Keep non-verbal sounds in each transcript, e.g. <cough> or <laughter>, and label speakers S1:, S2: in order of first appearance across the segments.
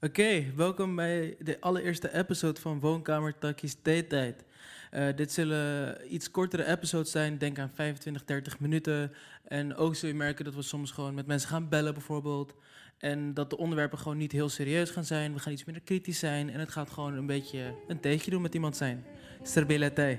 S1: Oké, welkom bij de allereerste episode van Woonkamer Takkies Theetijd. Eh dit zullen iets kortere episodes zijn, denk aan 25, 30 minuten. En ook zul je merken dat we soms gewoon met mensen gaan bellen bijvoorbeeld. En dat de onderwerpen gewoon niet heel serieus gaan zijn. We gaan iets minder kritisch zijn. En het gaat gewoon een beetje een theetje doen met iemand zijn. Sterbele thee.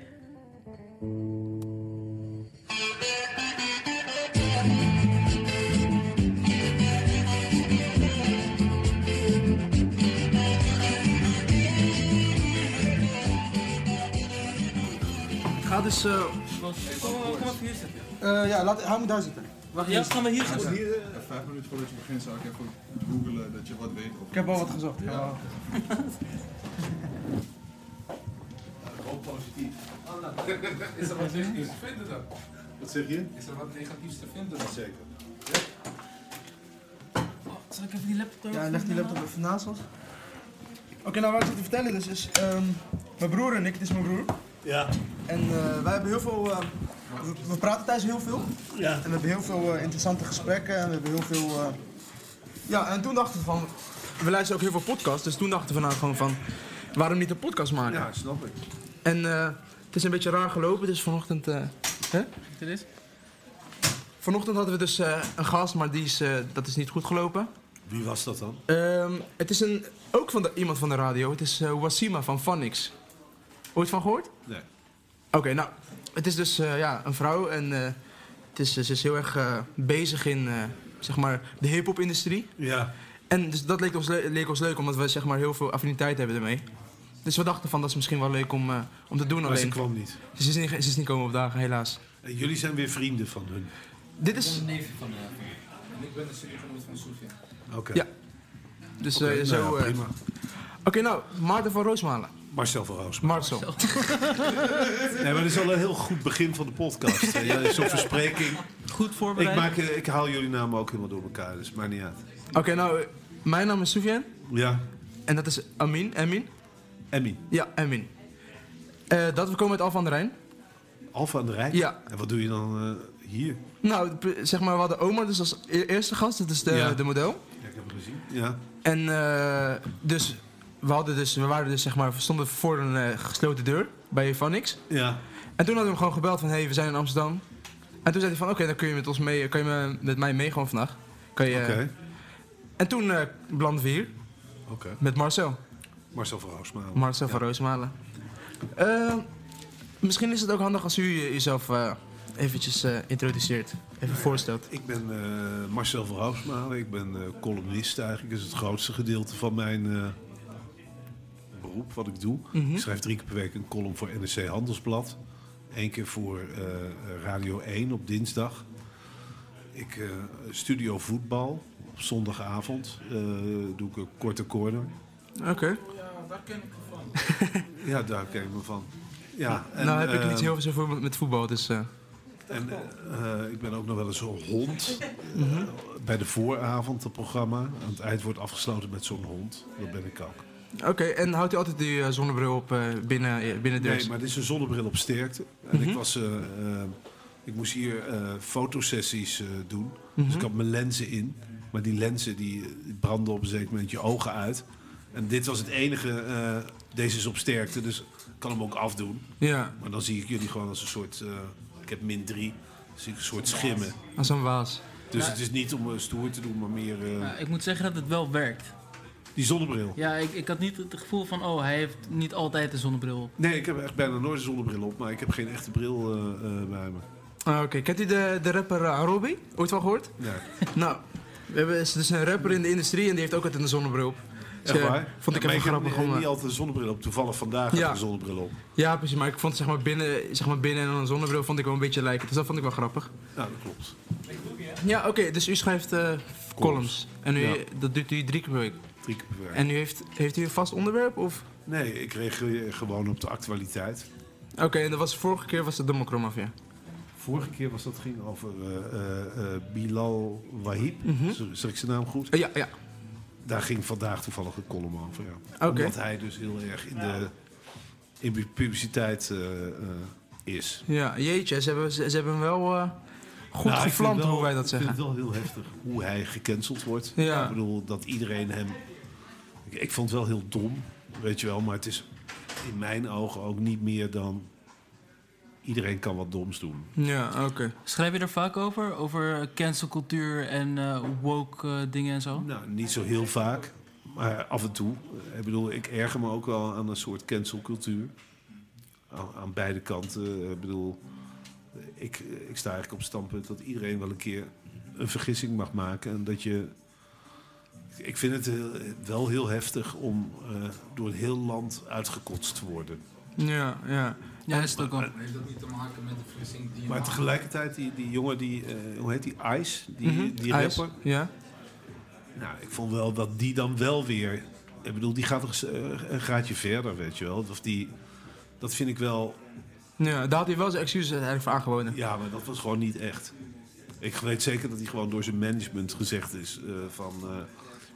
S2: Het gaat dus. eh,
S1: Kom, kom even hier zitten.
S2: eh, ja, laat, hou me daar zitten.
S1: Wacht, ja, gaan we hier zitten.
S3: En Eh, vijf minuten voordat je begint zou ik even googelen dat je wat weet. Of
S2: Ik heb al wat gezocht. ik heb al-
S4: Ook positief. Is er wat negatiefs te vinden dan?
S3: Wat zeg je?
S4: Is er wat negatiefs te vinden dan?
S3: Zeker.
S1: Zal ik even die laptop
S2: Ja, leg die laptop even naast ons. Oké, nou wat ik zat te vertellen dus is. ehm, mijn broer en ik, het is mijn broer.
S5: Ja,
S2: En eh, wij hebben heel veel. eh, we, we praten thuis heel veel.
S5: ja.
S2: En we hebben heel veel eh, interessante gesprekken. En we hebben heel veel. eh, ja, en toen dachten we van. We luisteren ook heel veel podcasts. Dus toen dachten we nou gewoon van. Waarom niet een podcast maken?
S3: Ja, snap ik.
S2: En eh, het is een beetje raar gelopen, dus vanochtend. eh, hè?
S1: Dit is.
S2: Vanochtend hadden we dus eh, een gast, maar die is, eh, dat is niet goed gelopen.
S5: Wie was dat dan?
S2: Ehm, het is een, ook van de, iemand van de radio. Het is eh Wasima van Phonix. Ooit van gehoord?
S3: Nee.
S2: Oké, nou, het is dus eh, ja, een vrouw en eh, het is, ze is heel erg eh, bezig in eh, zeg maar, de hip-hop-industrie.
S5: Ja.
S2: En dus dat leek ons, le- leek ons leuk, omdat we zeg maar, heel veel affiniteit hebben ermee. Dus we dachten van dat is misschien wel leuk om, eh, om te doen.
S5: Maar ze
S2: Alleen
S5: kwam niet.
S2: ze is, niet, ze is niet komen opdagen, helaas.
S5: En jullie zijn weer vrienden van hun.
S2: Dit is.
S4: En ik ben de studiegenoot van Sofia.
S5: Oké.
S2: Ja. Dus eh,
S5: Oké, nou ja,
S2: zo. eh,
S5: prima.
S2: Oké, nou, Maarten van Roosmalen.
S5: Marcel van Roos.
S2: Marcel.
S5: Nee, maar dat is al een heel goed begin van de podcast. Eh, ja, Zo'n verspreking.
S1: Goed
S5: Ik,
S1: voorbereid.
S5: maak, eh, ik haal jullie namen ook helemaal door elkaar, dus maakt niet uit.
S2: Oké, nou, mijn naam is Soufiane.
S5: Ja,
S2: En dat is Amin. Amin?
S5: Emmy.
S2: Ja, Amin. Eh, dat we komen uit Al van der Rijn.
S5: Alfa aan de Rijn.
S2: Ja.
S5: En wat doe je dan eh, hier?
S2: Nou, p- zeg maar, we hadden Omar dus als e- eerste gast. Dat is de,
S5: Ja.
S2: de model.
S5: Ja, ik heb het gezien. Ja.
S2: En eh, dus, we hadden dus, we waren dus, zeg maar, we stonden voor een eh, gesloten deur bij Phonix.
S5: Ja.
S2: En toen hadden we hem gewoon gebeld van, hé, hey, we zijn in Amsterdam. En toen zei hij van, oké, dan kun je met ons mee, kan je me- met mij mee gewoon vandaag. Kan je,
S5: Oké.
S2: En toen eh belanden we hier
S5: Oké.
S2: met Marcel.
S5: Marcel van Roosmalen.
S2: Marcel
S5: Ja.
S2: van Roosmalen. Eh, misschien is het ook handig als u eh, jezelf eh, eventjes eh, introduceert. Even voorstelt.
S5: Ik ben eh, Marcel van Roosmalen. Ik ben eh, columnist eigenlijk. Dat is het grootste gedeelte van mijn eh, beroep, wat ik doe. Ik schrijf drie keer per week een column voor NRC Handelsblad. Eén keer voor eh, Radio 1 op dinsdag. Ik eh, studio voetbal op zondagavond. eh, doe ik een korte corner.
S2: Oké.
S5: Ja, daar ken ik me van. Ja, en,
S2: nou heb ik
S5: eh,
S2: niet heel veel voor met voetbal, dus... eh,
S5: En eh, eh, ik ben ook nog wel eens zo'n hond.
S2: Mhm.
S5: Eh, bij de vooravond, het programma. Aan het eind wordt afgesloten met zo'n hond. Dat ben ik ook.
S2: Oké, en houdt u altijd die eh, zonnebril op eh, binnen, eh, binnen deurs?
S5: Nee, maar dit is een zonnebril op sterkte. En
S2: Mhm.
S5: ik, was, eh, eh, ik moest hier eh, fotosessies eh, doen.
S2: Mhm.
S5: Dus ik had mijn lenzen in. Maar die lenzen die eh, branden op een zeker moment je ogen uit. En dit was het enige. eh, deze is op sterkte, dus ik kan hem ook afdoen.
S2: Ja,
S5: Maar dan zie ik jullie gewoon als een soort. eh, ik heb min drie. Dan zie ik een soort schimmen.
S2: als een waas.
S5: Dus het is niet om eh, stoer te doen, maar meer. eh,
S1: Ja, ik moet zeggen dat het wel werkt.
S5: Die zonnebril.
S1: Ja, ik, ik had niet het gevoel van, oh, hij heeft niet altijd een zonnebril op.
S5: Nee, ik heb echt bijna nooit een zonnebril op, maar ik heb geen echte bril eh, eh, bij me.
S2: Ah, Oké, kent u de, de rapper eh, Arobi? Ooit van gehoord?
S5: Nee.
S2: Nou, we hebben, is dus een rapper in de industrie en die heeft ook altijd een zonnebril op. Dus,
S5: Echt
S2: eh,
S5: waar?
S2: Vond ik
S5: Ja, maar
S2: even grappig
S5: heb
S2: om...
S5: niet-
S2: eh,
S5: niet altijd een zonnebril op. Toevallig vandaag heb ik
S2: Ja.
S5: een zonnebril op.
S2: Ja, precies, maar ik vond zeg maar binnen, zeg maar binnen en dan een zonnebril vond ik wel een beetje lijken. Dus dat vond ik wel grappig.
S5: Nou, dat klopt.
S2: Ja, oké, dus u schrijft eh, columns. En u,
S5: Ja.
S2: dat doet u drie keer per week.
S5: Drie keer per week.
S2: En u heeft, heeft u een vast onderwerp? Of...
S5: Nee, ik reageer gewoon op de actualiteit.
S2: Oké, en dat was vorige keer was het de mokromafia.
S5: Vorige keer was dat ging over eh, eh, eh, Bilal Wahib.
S2: Mhm.
S5: Z- Zeg ik zijn naam goed?
S2: Eh, ja, ja.
S5: Daar ging vandaag toevallig een column over. Ja.
S2: Oké.
S5: Omdat hij dus heel erg in de in de publiciteit eh, eh, is.
S2: Ja, jeetje, ze hebben, ze, ze hebben hem wel eh, goed
S5: Nou, ik
S2: gevlamd,
S5: vind wel-
S2: hoe wij dat
S5: Ik
S2: zeggen.
S5: vind het wel heel heftig hoe hij gecanceld wordt.
S2: Ja.
S5: Ik bedoel, dat iedereen hem... Ik, ik vond het wel heel dom, weet je wel. Maar het is in mijn ogen ook niet meer dan... Iedereen kan wat doms doen.
S2: Ja, oké.
S1: Schrijf je er vaak over? Over eh, cancelcultuur en eh, woke eh, dingen en zo?
S5: Nou, niet zo heel vaak, maar af en toe. Ik bedoel, ik erger me ook wel aan een soort cancelcultuur. Aan, aan beide kanten. Ik bedoel, ik, ik sta eigenlijk op het standpunt dat iedereen wel een keer een vergissing mag maken. En dat je. Ik vind het heel- wel heel heftig om eh, door een heel land uitgekotst te worden.
S2: Ja, ja.
S1: Ja, dat is het ook al.
S6: Heeft dat niet te maken met de vergissing die je
S5: Maar
S6: maakt?
S5: tegelijkertijd, die, die jongen, die, eh, hoe heet die? Ice, die, die
S2: Ijs,
S5: rapper.
S2: Ja.
S5: Nou, ik vond wel dat die dan wel weer. Ik bedoel, die gaat nog eens, eh, een gaatje verder, weet je wel. Of die, dat vind ik wel.
S2: ja, daar had hij wel zijn excuses eigenlijk voor aangeboden.
S5: Ja, maar dat was gewoon niet echt. Ik weet zeker dat hij gewoon door zijn management gezegd is: eh, van. eh,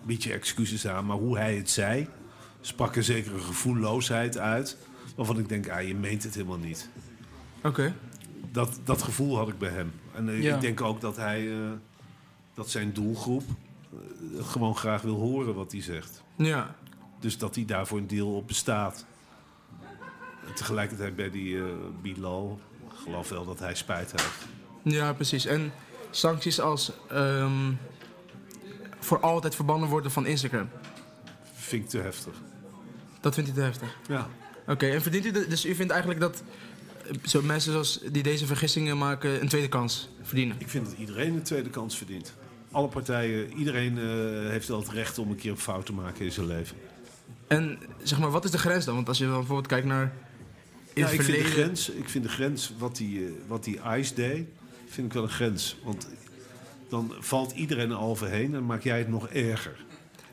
S5: bied je excuses aan. Maar hoe hij het zei, sprak een zekere gevoelloosheid uit. Waarvan ik denk: ah, je meent het helemaal niet.
S2: Oké.
S5: Dat, dat gevoel had ik bij hem. En eh,
S1: Ja.
S5: ik denk ook dat hij. eh, dat zijn doelgroep. eh, gewoon graag wil horen wat hij zegt.
S2: Ja.
S5: Dus dat hij daarvoor een deel op bestaat. En tegelijkertijd bij die eh, Bilal, ik geloof wel dat hij spijt heeft.
S2: Ja, precies. En sancties als ehm, voor altijd verbannen worden van Instagram.
S5: Vind ik te heftig.
S2: Dat vindt hij te heftig.
S5: Ja.
S2: Oké, en verdient u de- dus u vindt eigenlijk dat eh, zo mensen zoals die deze vergissingen maken een tweede kans verdienen?
S5: Ik vind dat iedereen een tweede kans verdient. Alle partijen, iedereen eh, heeft wel het recht om een keer een fout te maken in zijn leven.
S2: En zeg maar, wat is de grens dan? Want als je dan bijvoorbeeld kijkt naar in
S5: Ja,
S2: het
S5: ik, vind de
S2: verleden.
S5: grens, ik vind de grens, wat die, eh, wat die ICE deed, vind ik wel een grens. Want dan valt iedereen er overheen en dan maak jij het nog erger.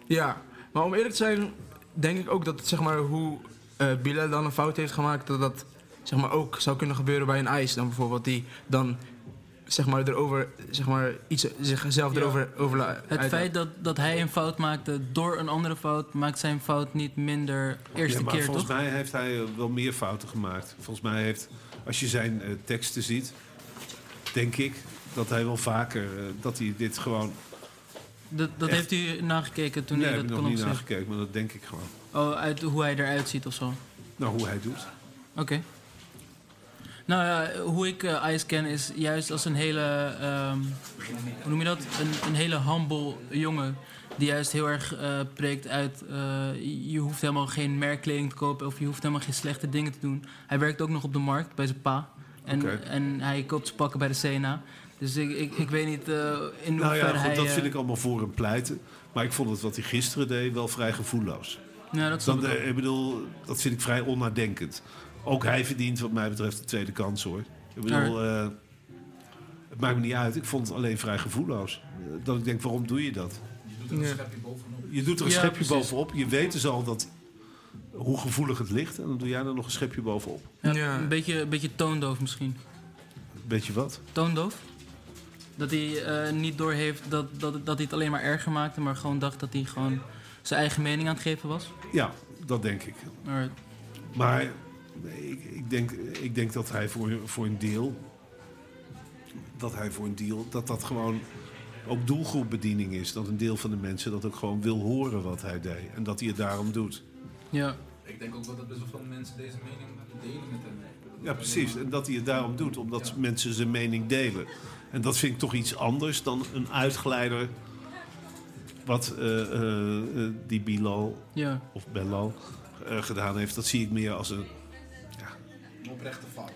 S2: Ja, maar om eerlijk te zijn, denk ik ook dat zeg maar, hoe eh Bilal dan een fout heeft gemaakt, dat dat zeg maar, ook zou kunnen gebeuren bij een ijs. Dan bijvoorbeeld die dan zeg maar, erover, zeg maar, iets, zichzelf
S1: Ja.
S2: erover over
S1: Het feit dat, dat hij een fout maakte door een andere fout, maakt zijn fout niet minder eerste
S5: ja, maar
S1: keer,
S5: volgens
S1: toch?
S5: mij heeft hij eh, wel meer fouten gemaakt. Volgens mij heeft, als je zijn eh, teksten ziet, denk ik dat hij wel vaker, eh, dat hij dit gewoon...
S1: Dat, dat
S5: Echt.
S1: heeft u nagekeken toen
S5: nee,
S1: hij
S5: heb
S1: dat
S5: ik nog
S1: kon
S5: niet
S1: opzetten.
S5: nagekeken, maar dat denk ik gewoon.
S1: Oh, uit hoe hij eruit ziet of zo.
S5: Nou, hoe hij doet.
S1: Oké. Nou ja, hoe ik eh, Ice ken is juist als een hele, ehm, hoe noem je dat? Een, een hele humble jongen. Die juist heel erg eh, preekt uit, eh, je hoeft helemaal geen merkkleding te kopen of je hoeft helemaal geen slechte dingen te doen. Hij werkt ook nog op de markt bij zijn pa. En,
S5: Oké.
S1: en hij koopt zijn pakken bij de CNA. Dus ik, ik, ik weet niet eh, in
S5: Nou
S1: hoeverre
S5: ja, goed,
S1: hij...
S5: dat
S1: eh,
S5: vind ik allemaal voor hem pleiten. Maar ik vond het wat hij gisteren deed wel vrij gevoelloos.
S1: ja, nou, dat snap
S5: Dan,
S1: ik ook.
S5: eh, ik bedoel, dat vind ik vrij onnadenkend. Ook hij verdient wat mij betreft de tweede kans hoor. Ik bedoel, eh, het maakt me niet uit. Ik vond het alleen vrij gevoelloos. Eh, Dat ik denk, waarom doe je dat? Je doet er een
S1: Ja,
S5: schepje
S1: precies.
S5: bovenop. Je weet dus al dat, hoe gevoelig het ligt. En dan doe jij er nog een schepje bovenop.
S1: Ja,
S2: Ja.
S1: Een, beetje, een beetje toondoof misschien.
S5: Weet je wat?
S1: toondoof. Dat hij eh, niet doorheeft dat, dat, dat hij het alleen maar erger maakte, maar gewoon dacht dat hij gewoon zijn eigen mening aan het geven was.
S5: Ja, dat denk ik.
S1: Alright.
S5: Maar nee, ik, ik, denk, ik denk dat hij voor, voor een deel... Dat hij voor een deel... Dat dat gewoon ook doelgroepbediening is. Dat een deel van de mensen dat ook gewoon wil horen wat hij deed. En dat hij het daarom doet.
S1: Ja.
S6: Ik denk ook wel dat best wel veel mensen deze mening delen met hem.
S5: Ja, precies. En dat hij het daarom doet. Omdat mensen zijn mening delen. En dat vind ik toch iets anders dan een uitglijder... wat eh, eh, eh, die Bilal
S1: Ja.
S5: of Belal eh, gedaan heeft, dat zie ik meer als een...
S6: Een oprechte fout.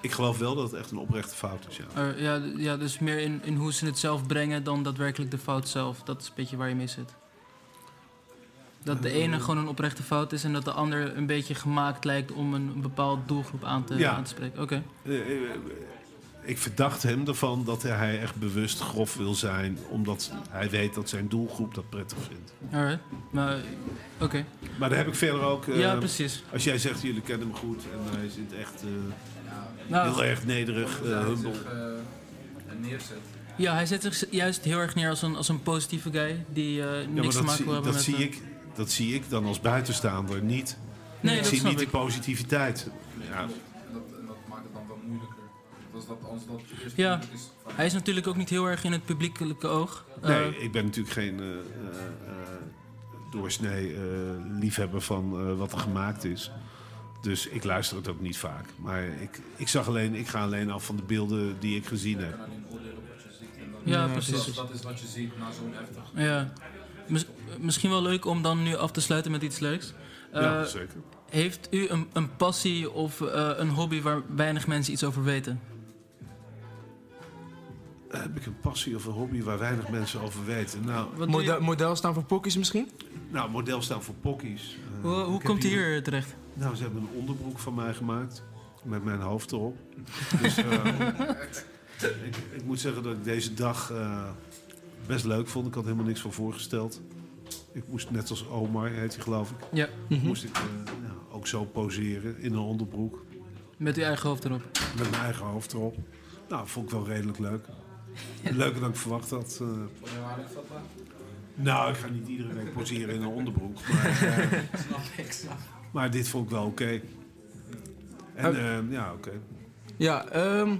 S5: Ik geloof wel dat het echt een oprechte fout is, ja.
S1: Er- ja, d- ja, dus meer in, in hoe ze het zelf brengen dan daadwerkelijk de fout zelf. Dat is een beetje waar je mee zit. Dat de ene gewoon een oprechte fout is en dat de ander een beetje gemaakt lijkt om een, een bepaald doelgroep aan te,
S5: Ja.
S1: aan te spreken. Oké.
S5: Eh, eh, ik verdacht hem ervan dat hij echt bewust grof wil zijn, omdat hij weet dat zijn doelgroep dat prettig vindt.
S1: Alright. Maar, oké.
S5: Maar daar heb ik verder ook. eh,
S1: ja, precies.
S5: als jij zegt, jullie kennen hem goed en hij zit echt eh, heel
S1: Nou,
S5: erg nederig, eh, humble.
S6: zich eh, neerzet.
S1: ja, hij zet zich juist heel erg neer als een, als een positieve guy die eh,
S5: Ja, maar
S1: niks te
S5: dat,
S1: maken
S5: zie,
S1: wil
S5: dat,
S1: hebben met...
S5: zie
S1: eh,
S5: ik, dat zie ik dan als buitenstaander niet.
S1: Nee,
S5: ik
S1: dat
S5: zie
S1: snap
S5: niet
S1: ik.
S5: de positiviteit. Ja,
S6: En dat, en dat maakt het dan wel moeilijker. Want als dat, als dat eerst
S1: Ja.
S6: moeilijk is... Van,
S1: Hij is natuurlijk ook niet heel erg in het publiekelijke oog. Eh,
S5: nee, ik ben natuurlijk geen eh, eh, eh, doorsnee eh, liefhebber van eh, wat er gemaakt is. Dus ik luister het ook niet vaak. Maar ik, ik, zag alleen, ik ga alleen af van de beelden die ik gezien
S6: je
S5: heb.
S6: kan alleen oordelen op wat je ziet. En dan,
S1: Ja,
S6: dat-
S1: precies.
S6: Dat is wat je ziet na zo'n heftig.
S1: Ja. Mis- misschien wel leuk om dan nu af te sluiten met iets leuks. Eh,
S5: ja, zeker.
S1: heeft u een, een passie of eh, een hobby waar weinig mensen iets over weten?
S5: Eh, Heb ik een passie of een hobby waar weinig mensen over weten? Nou,
S1: Wat doe je-
S2: Model, model staan voor pokkies misschien?
S5: nou model staan voor pokkies. Eh,
S1: hoe
S5: ik
S1: hoe
S5: heb
S1: komt u hier terecht?
S5: Nou, ze hebben een onderbroek van mij gemaakt. Met mijn hoofd erop. dus eh, ik, ik moet zeggen dat ik deze dag eh, best leuk vond. Ik had helemaal niks van voorgesteld. Ik moest net als Omar, heet hij geloof ik.
S1: Ja.
S5: Moest ik eh, ja, ook zo poseren in een onderbroek.
S1: Met uw eigen hoofd erop.
S5: Met mijn eigen hoofd erop. Nou, vond ik wel redelijk
S6: <laughs>
S5: leuk. Leuker dan ik verwacht had. eh.
S6: Ben je waarlijk vatbaar?
S5: nou, ik ga niet iedere week poseren in een onderbroek. Maar,
S6: <laughs>
S5: eh,
S6: Snap ik, snap
S5: maar dit vond ik wel oké. En eh, ja, oké.
S2: Ja, ehm,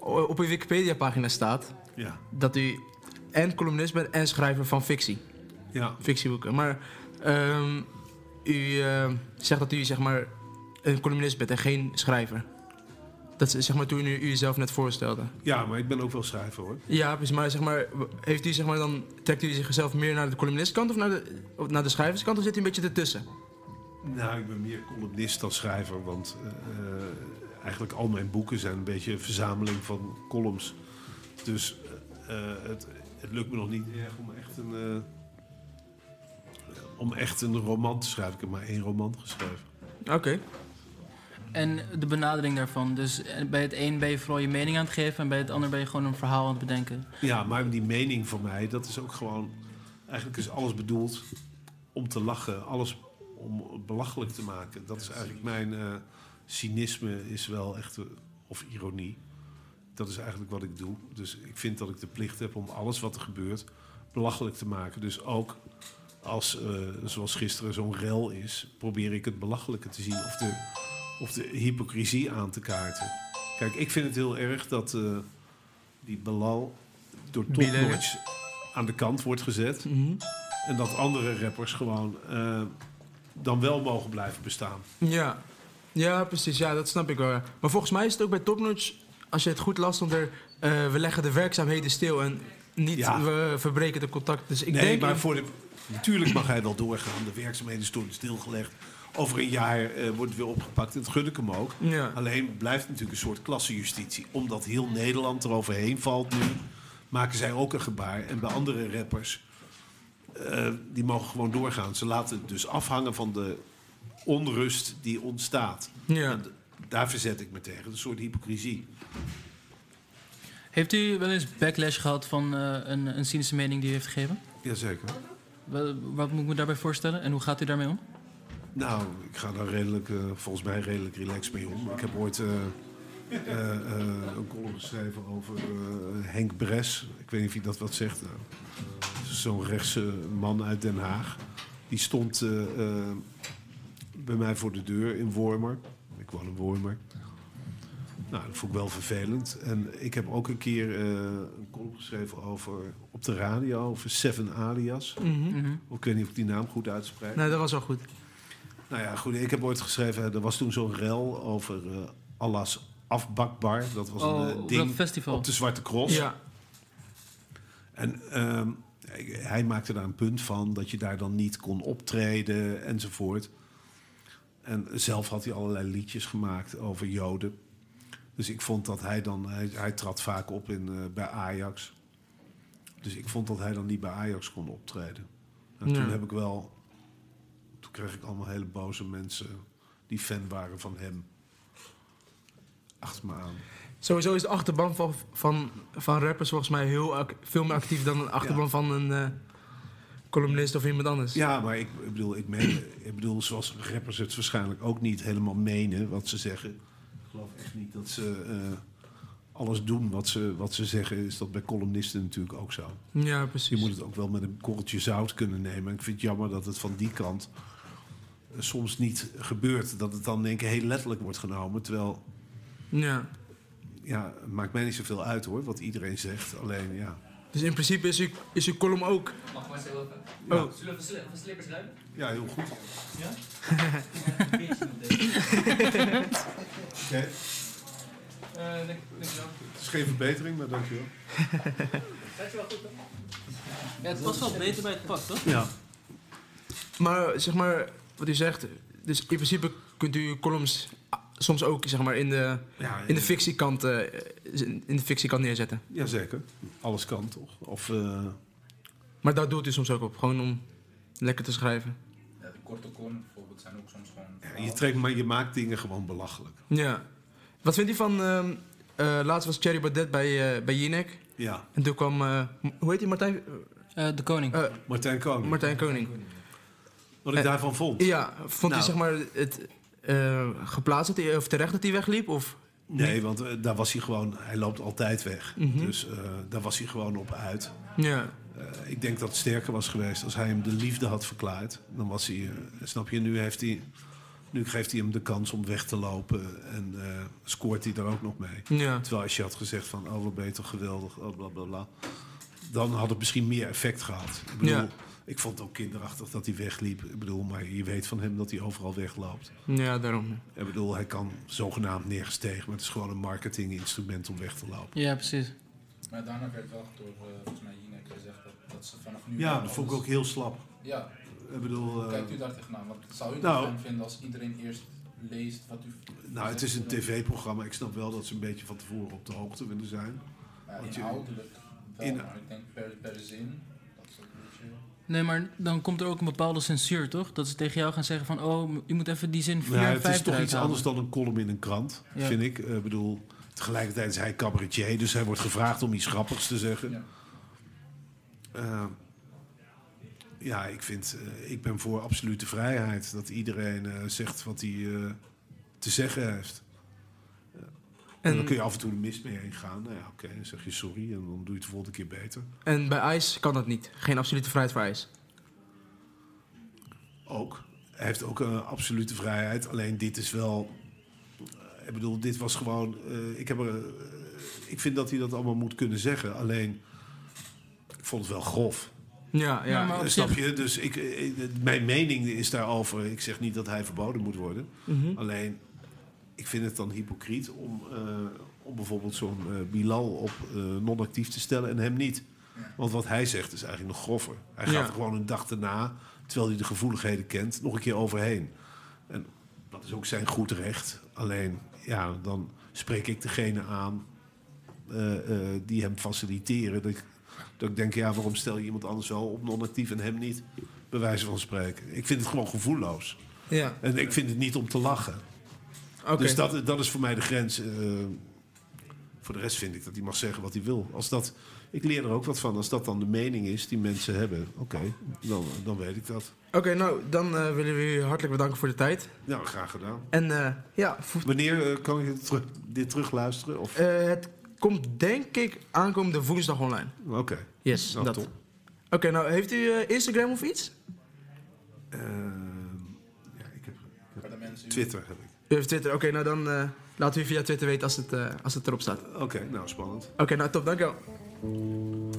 S2: o- op uw Wikipedia pagina staat
S5: Ja.
S2: dat u en columnist bent en schrijver van fictie.
S5: Ja.
S2: Fictieboeken. Maar ehm, u ehm, zegt dat u zeg maar een columnist bent en geen schrijver. Dat is zeg maar toen u u zelf net voorstelde.
S5: Ja, maar ik ben ook wel schrijver hoor.
S2: Ja, precies. Maar zeg maar, heeft u zeg maar dan, trekt u zichzelf meer naar de columnistkant of naar de, of naar de schrijverskant of zit u een beetje ertussen?
S5: Nou, ik ben meer columnist dan schrijver, want eh, eh, eigenlijk al mijn boeken zijn een beetje een verzameling van columns. Dus eh, eh, het, het lukt me nog niet erg om echt een, eh, om echt een roman te schrijven. Ik heb maar één roman geschreven.
S2: Oké.
S1: En de benadering daarvan. Dus eh, bij het een ben je vooral je mening aan het geven en bij het ander ben je gewoon een verhaal aan het bedenken.
S5: Ja, maar die mening van mij, dat is ook gewoon. Eigenlijk is alles bedoeld om te lachen, alles om belachelijk te maken. Dat is eigenlijk mijn eh, cynisme, is wel echt. eh, of ironie. Dat is eigenlijk wat ik doe. Dus ik vind dat ik de plicht heb om alles wat er gebeurt belachelijk te maken. Dus ook als, eh, zoals gisteren, zo'n rel is, probeer ik het belachelijke te zien of de, of de hypocrisie aan te kaarten. Kijk, ik vind het heel erg dat eh, die Belal door
S2: Bilal.
S5: Topnotch aan de kant wordt gezet.
S2: Mhm.
S5: En dat andere rappers gewoon eh, dan wel mogen blijven bestaan.
S2: Ja. ja, precies. Ja, dat snap ik wel. ja. Maar volgens mij is het ook bij Topnotch, als je het goed las, stond er... eh, we leggen de werkzaamheden stil en niet
S5: Ja.
S2: we verbreken de contact. Dus ik
S5: nee,
S2: denk...
S5: maar voor de, natuurlijk mag hij wel doorgaan. De werkzaamheden worden stilgelegd. Over een jaar eh, wordt het weer opgepakt. En dat gun ik hem ook.
S2: Ja.
S5: Alleen het blijft natuurlijk een soort klassenjustitie. Omdat heel Nederland eroverheen valt nu, maken zij ook een gebaar. En bij andere rappers, eh, die mogen gewoon doorgaan. Ze laten het dus afhangen van de onrust die ontstaat.
S2: ja.
S5: En d- daar verzet ik me tegen. Een soort hypocrisie.
S1: Heeft u wel eens backlash gehad van eh, een, een cynische mening die u heeft gegeven?
S5: Jazeker.
S1: Wel, Wat moet ik me daarbij voorstellen en hoe gaat u daarmee om?
S5: Nou, ik ga daar redelijk, eh, volgens mij redelijk relaxed mee om. Ik heb ooit eh, eh, eh, een column geschreven over eh, Henk Bres. Ik weet niet of je dat wat zegt. Nou, dat is Zo'n rechtse man uit Den Haag. Die stond eh, eh, bij mij voor de deur in Wormer. Ik woon in Wormer. Nou, dat vond ik wel vervelend. En ik heb ook een keer eh, een column geschreven over, op de radio over Seven Alias.
S2: Mhm.
S1: Mhm.
S5: Ik weet niet of ik die naam goed uitspreek.
S2: Nee, dat was wel goed.
S5: Nou ja, goed. Ik heb ooit geschreven. eh, Er was toen zo'n rel over eh Allah's afbakbar. Dat was
S1: Oh,
S5: een eh,
S1: op dat
S5: ding
S1: festival.
S5: op de Zwarte Cross.
S2: Ja.
S5: En ehm, ik- hij maakte daar een punt van dat je daar dan niet kon optreden enzovoort. En zelf had hij allerlei liedjes gemaakt over Joden. Dus ik vond dat hij dan, hij, hij trad vaak op in, eh, bij Ajax. Dus ik vond dat hij dan niet bij Ajax kon optreden. En
S2: Ja.
S5: toen heb ik wel, toen kreeg ik allemaal hele boze mensen die fan waren van hem. Achter me aan.
S2: Sowieso is de achterban van, van, van rappers volgens mij heel ac- veel meer actief dan de achterban van een eh, columnist of iemand anders.
S5: Ja, maar ik, ik bedoel, ik, meen, ik bedoel, zoals rappers het waarschijnlijk ook niet helemaal menen wat ze zeggen. Ik geloof echt niet dat ze eh, alles doen wat ze, wat ze zeggen. Is dat bij columnisten natuurlijk ook zo.
S2: Ja,
S5: Je
S2: precies.
S5: moet het ook wel met een korreltje zout kunnen nemen. En ik vind het jammer dat het van die kant eh, soms niet gebeurt. Dat het dan denk ik heel letterlijk wordt genomen. Terwijl,
S2: Ja.
S5: ja, het maakt mij niet zoveel uit hoor, wat iedereen zegt. Alleen, ja.
S2: Dus in principe is uw, is uw column ook.
S7: Mag ik maar zo even?
S5: Ja.
S7: Zullen we van sli- van slippers ruimen?
S5: Ja, heel goed. <laughs> Oké,
S7: Eh, dank- dankjewel.
S5: het is geen verbetering, maar dankjewel.
S7: Gaat je wel goed, hoor.
S1: Ja, het past wel beter bij het pak, toch?
S5: Ja.
S2: Maar zeg maar, wat u zegt, dus in principe kunt u uw columns ah, soms ook zeg maar, in, de,
S5: Ja,
S2: in, de fictiekant, eh, in de fictiekant neerzetten.
S5: Jazeker. Alles kan toch? Of, eh,
S2: Maar daar doet u soms ook op, gewoon om lekker te schrijven.
S6: Ja, de korte konen bijvoorbeeld zijn ook soms gewoon...
S5: ja, je, trekt, maar je maakt dingen gewoon belachelijk.
S2: Ja. Wat vindt u van, ehm, eh, laatst was Thierry Baudet bij, eh bij Jinek.
S5: Ja.
S2: En toen kwam, eh, m- hoe heet die, Martijn,
S1: de koning.
S2: eh,
S5: Martijn Koning.
S2: Martijn Koning.
S5: Wat ik
S2: Eh,
S5: daarvan vond.
S2: Ja, vond u
S5: Nou.
S2: zeg maar het eh, geplaatst dat hij, of terecht dat hij wegliep? Of?
S5: Nee, want eh, daar was hij gewoon... Hij loopt altijd weg.
S2: Mhm.
S5: Dus eh, daar was hij gewoon op uit.
S2: Ja,
S5: Eh, ik denk dat het sterker was geweest als hij hem de liefde had verklaard. Dan was hij... eh, snap je, nu heeft hij... Nu geeft hij hem de kans om weg te lopen en eh, scoort hij daar ook nog mee.
S2: ja,
S5: Terwijl als je had gezegd van, oh wat beter geweldig, oh bla bla bla. Dan had het misschien meer effect gehad. Ik bedoel,
S2: Ja.
S5: ik vond het ook kinderachtig dat hij wegliep. Ik bedoel, maar je weet van hem dat hij overal wegloopt.
S2: ja, daarom.
S5: Ik bedoel, hij kan zogenaamd neergestegen, maar het is gewoon een marketinginstrument om weg te lopen.
S1: Ja, precies.
S6: Maar daarna werd wel door, eh, volgens mij, Jinek gezegd dat, dat ze vanaf nu...
S5: Ja, dat vond ik ook heel slap.
S6: Ja,
S5: Ik bedoel,
S6: hoe
S5: eh,
S6: kijkt u daar tegenaan? Want zou u het
S5: nou.
S6: fijn vinden als iedereen eerst leest wat u...
S5: nou, het is een tv-programma. Ik snap wel dat ze een beetje van tevoren op de hoogte willen zijn.
S6: Ja,
S5: want je-
S6: inhoudelijk wel,
S5: in-
S6: maar ik denk per, per zin, dat is ook een beetje...
S1: Nee, maar dan komt er ook een bepaalde censuur, toch? Dat ze tegen jou gaan zeggen van... oh, m- je moet even die zin 4
S5: Ja,
S1: en
S5: het
S1: 5
S5: is toch iets anders dan een column in een krant,
S1: Ja.
S5: vind ik. Ik bedoel, tegelijkertijd is hij cabaretier, dus hij wordt gevraagd om iets grappigs te zeggen.
S6: Ja.
S5: Eh, ja, ik, vind, eh, ik ben voor absolute vrijheid. Dat iedereen eh, zegt wat hij eh, te zeggen heeft. En, dan kun je af en toe de mist mee heen gaan. Nou ja, oké, dan zeg je sorry en dan doe je het de volgende keer beter.
S2: En bij ICE kan dat niet. Geen absolute vrijheid voor ICE.
S5: Ook. Hij heeft ook een absolute vrijheid. Alleen dit is wel. eh, ik bedoel, dit was gewoon. eh, ik, heb er, eh, ik vind dat hij dat allemaal moet kunnen zeggen. Alleen. Ik vond het wel grof.
S2: Ja, ja.
S1: Ja, maar- op
S5: Snap
S1: zich-
S5: je? Dus ik, eh, eh, mijn mening is daarover. Ik zeg niet dat hij verboden moet worden.
S2: Mhm.
S5: Alleen, ik vind het dan hypocriet om, eh, om bijvoorbeeld zo'n eh, Bilal op eh, non-actief te stellen en hem niet. Want wat hij zegt is eigenlijk nog groffer. Hij gaat
S2: Ja.
S5: er gewoon een dag daarna, terwijl hij de gevoeligheden kent, nog een keer overheen. En dat is ook zijn goed recht. Alleen, ja, dan spreek ik degene aan eh, eh, die hem faciliteren. Dat ik, dat ik denk, ja, waarom stel je iemand anders wel op non-actief en hem niet? Bij wijze van spreken. Ik vind het gewoon gevoelloos.
S2: ja.
S5: En ik vind het niet om te lachen.
S2: Oké.
S5: Dus dat, dat is voor mij de grens. eh, voor de rest vind ik dat hij mag zeggen wat hij wil. Als dat, ik leer er ook wat van. Als dat dan de mening is die mensen hebben, oké, dan, dan weet ik dat.
S2: Oké, nou, dan eh, willen we u hartelijk bedanken voor de tijd.
S5: Nou, graag gedaan.
S2: En eh, ja, vo-
S5: Wanneer eh, kan ik dit terug, dit terugluisteren? Of,
S2: eh, het komt denk ik aankomende woensdag online.
S5: oké,
S2: Yes,
S5: nou
S2: dat.
S5: top.
S2: Oké, nou, heeft u eh, Instagram of iets?
S5: Eh, ja, ik heb,
S6: Maar de mensen...
S5: Twitter heb ik.
S2: U heeft Twitter. Oké, nou dan eh laat u via Twitter weten als het, eh, als het erop staat. Oké,
S5: Oké, nou spannend.
S2: nou top, dank u wel.